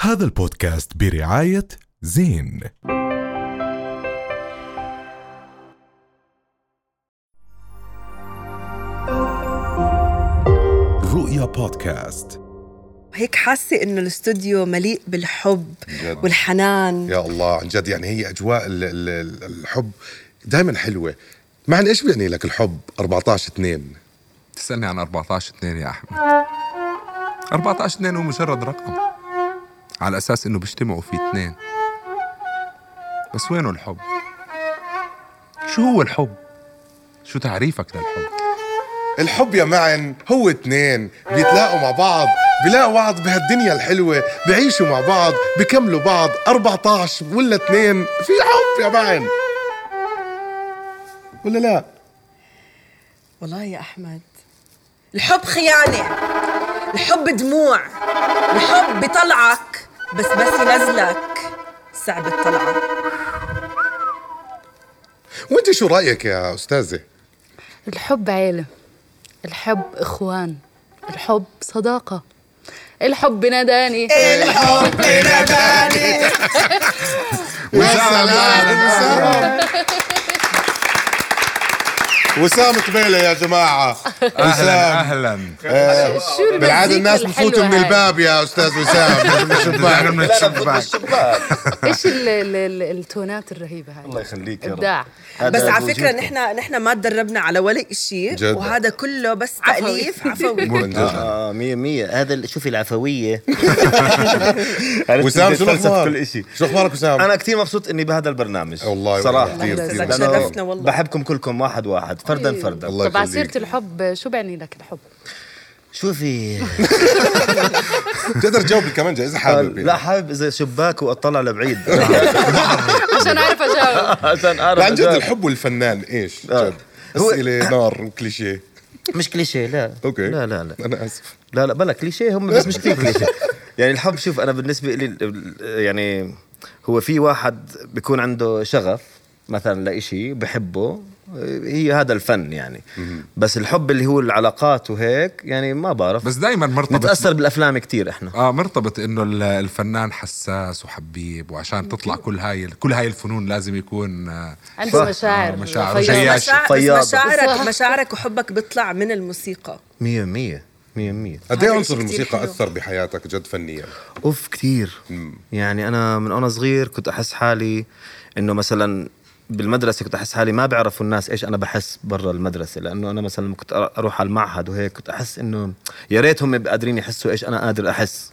هذا البودكاست برعاية زين رؤيا بودكاست هيك حاسة إنه الاستوديو مليء بالحب جد. والحنان يا الله عن جد يعني هي اجواء ال- ال- ال- الحب دائما حلوه معن ايش بيعني لك الحب 14 2 تسألني عن 14 2 يا أحمد 14 2 هو مجرد رقم على أساس إنه بيجتمعوا فيه اثنين بس وينه الحب؟ شو هو الحب؟ شو تعريفك للحب؟ الحب يا معن هو اثنين بيتلاقوا مع بعض بيلاقوا بعض بهالدنيا الحلوه بعيشوا مع بعض بكملوا بعض 14 ولا اثنين في حب يا معن ولا لا والله يا أحمد الحب خيانة الحب دموع الحب بطلعك بس بس ينزلك صعب الطلعة وانت شو رايك يا استاذه الحب عيلة الحب إخوان الحب صداقة الحب ناداني الحب نباني وسام وسام قبيله يا جماعه أهلا أهلا شو بالعاده آه، المزيكا الناس بفوتوا الحلوة من هاي؟ الباب يا استاذ وسام شباك من الشباك ايش ال- ال- ال- التونات الرهيبة هاي الله يخليك ابداع بس على فكرة نحن نحن ما تدربنا على ولا شيء جد. وهذا كله بس تأليف عفوي من جد. اه مية مية هذا ال- شوفي العفوية وسام شو فلسفة الاخبار؟ كل شيء شو اخبارك وسام؟ أنا كثير مبسوط إني بهذا البرنامج والله صراحة والله كتير. كتير. تذكرت لأنه شرفتنا والله. أيوة. بحبكم كلكم واحد واحد فردا فردا الله طب يخليك. عسيرة الحب شو بعني لك الحب؟ شوفي بتقدر تجاوبي كمان جاي اذا حابب آه، لا يعني. حابب إذا شباك وأطلع لبعيد عشان أعرف أجاوب عشان لا عن أعرف جد أجاوب. الحب والفنان ايش؟ آه. جد هو- اسئله نار وكليشيه مش كليشيه لا اوكي لا لا لا انا اسف لا لا بلا كليشيه هم بس مش كثير كليشيه يعني الحب شوف انا بالنسبه لي ال- يعني هو في واحد بيكون عنده شغف مثلا لإشي بحبه هي هذا الفن يعني بس الحب اللي هو العلاقات وهيك يعني ما بعرف بس دايما مرتبط نتاثر بالافلام كتير احنا اه مرتبط انه ال- الفنان حساس وحبيب وعشان تطلع كل هاي كل هاي الفنون لازم يكون آه، عنده صح. مشاعر آه، مشاعر فياضة. جياشة. مشاعر فياضة. بس مشاعرك صح. مشاعرك وحبك بيطلع من الموسيقى 100 100 100 100 قد ايه هذا عنصر إشي كتير الموسيقى حلو. آه. اثر بحياتك جد فنيا؟ اوف كثير يعني انا من وانا صغير كنت احس حالي انه مثلا بالمدرسه كنت احس حالي ما بيعرفوا الناس ايش انا بحس برا المدرسه لانه انا مثلا لما كنت أر- اروح على المعهد وهيك كنت احس انه يا ريت هم قادرين يحسوا ايش انا قادر احس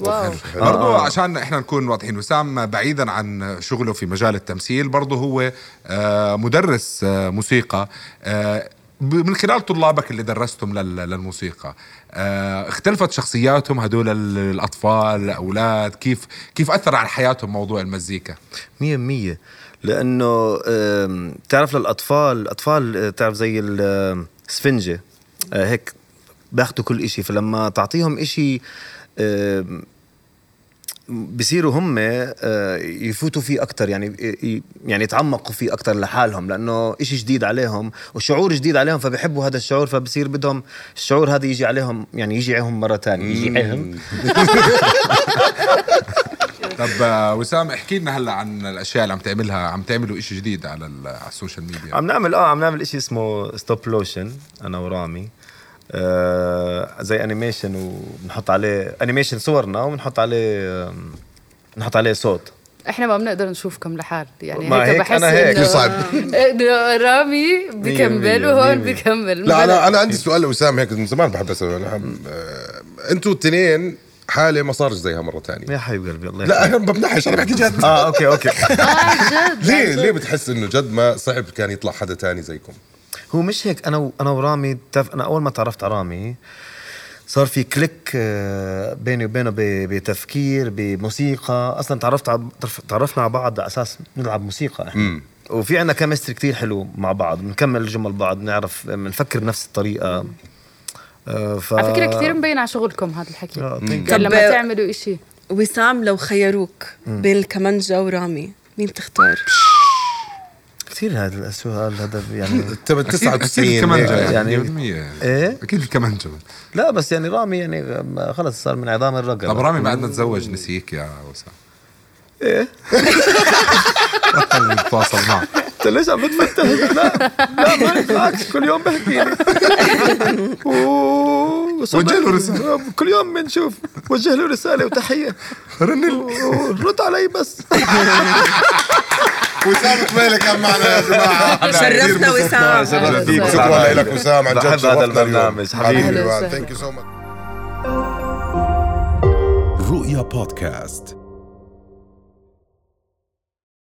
واو برضو آه. عشان احنا نكون واضحين وسام بعيدا عن شغله في مجال التمثيل برضو هو آه، مدرس آه، موسيقى آه، ب- من خلال طلابك اللي درستهم لل- للموسيقى آه، اختلفت شخصياتهم هدول ال- الاطفال الاولاد كيف كيف اثر على حياتهم موضوع المزيكا مية مية لأنه آم، تعرف للأطفال الأطفال آه، تعرف زي السفنجة آه، هيك باخدوا كل إشي فلما تعطيهم إشي آم، بصيروا هم آه، يفوتوا فيه أكتر يعني ي- يعني يتعمقوا فيه أكتر لحالهم لأنه إشي جديد عليهم وشعور جديد عليهم فبيحبوا هذا الشعور فبصير بدهم الشعور هذا يجي عليهم يعني يجي عليهم مرة تانية يجي عليهم طب آه، وسام احكي لنا هلا عن الاشياء اللي عم تعملها عم تعملوا إشي جديد على ال- على السوشيال ميديا عم نعمل اه عم نعمل شيء اسمه ستوب لوشن انا ورامي آه زي انيميشن وبنحط عليه انيميشن صورنا وبنحط عليه آم، بنحط عليه صوت احنا ما بنقدر نشوفكم لحال يعني ما هيك، هيك بحس أنا هيك. إنه- صعب. إنه رامي بكمل مية، وهون مية، مية. بكمل لا انا انا عندي سؤال لوسام هيك من زمان بحب اساله انتوا التنين حاله ما صارش زيها مره ثانيه يا حبيب قلبي الله لا يخليك انا بمنحش انا بحكي جد اه اوكي اوكي آه، جد يعني ليه ليه بتحس انه جد ما صعب كان يطلع حدا تاني زيكم؟ هو مش هيك انا و- انا ورامي بتعرف انا اول ما تعرفت على رامي صار في كليك آه، بيني وبينه ب- بتفكير بموسيقى اصلا تعرفت ع- تعرف- تعرفنا على بعض على اساس نلعب موسيقى احنا وفي عنا كيمستري كتير حلو مع بعض بنكمل جمل بعض بنعرف بنفكر بنفس الطريقه آه، ف... على فكرة كثير مبين على شغلكم هذا الحكي آه، thank you. كان لما طب- تعملوا إشي وسام لو خيروك بين الكمانجا ورامي مين بتختار؟ كثير هذا السؤال هذا يعني تبع 99 اكيد كمان هيك. جمال يعني- يعني 100% إيه؟ اكيد كمان جمال لا بس يعني رامي يعني خلص صار من عظام الرقبه طب رامي بعد ما تزوج نسيك يا وسام ايه بطل نتواصل معه انت ليش عم بتفتح لا لا ما بالعكس كل يوم بحكي لي وجه له رسالة. Uh, كل يوم بنشوف وجه له رساله وتحيه رن uh, رد علي بس وسام كمالي كان معنا يا جماعه شرفنا وسام شرفنا فيك. شكرا لك وسام عن جد بحب هذا شرفتنا اليوم. البرنامج، حبيبي. أهلا وسهلا. ثانك يو سو ماتش رؤيا بودكاست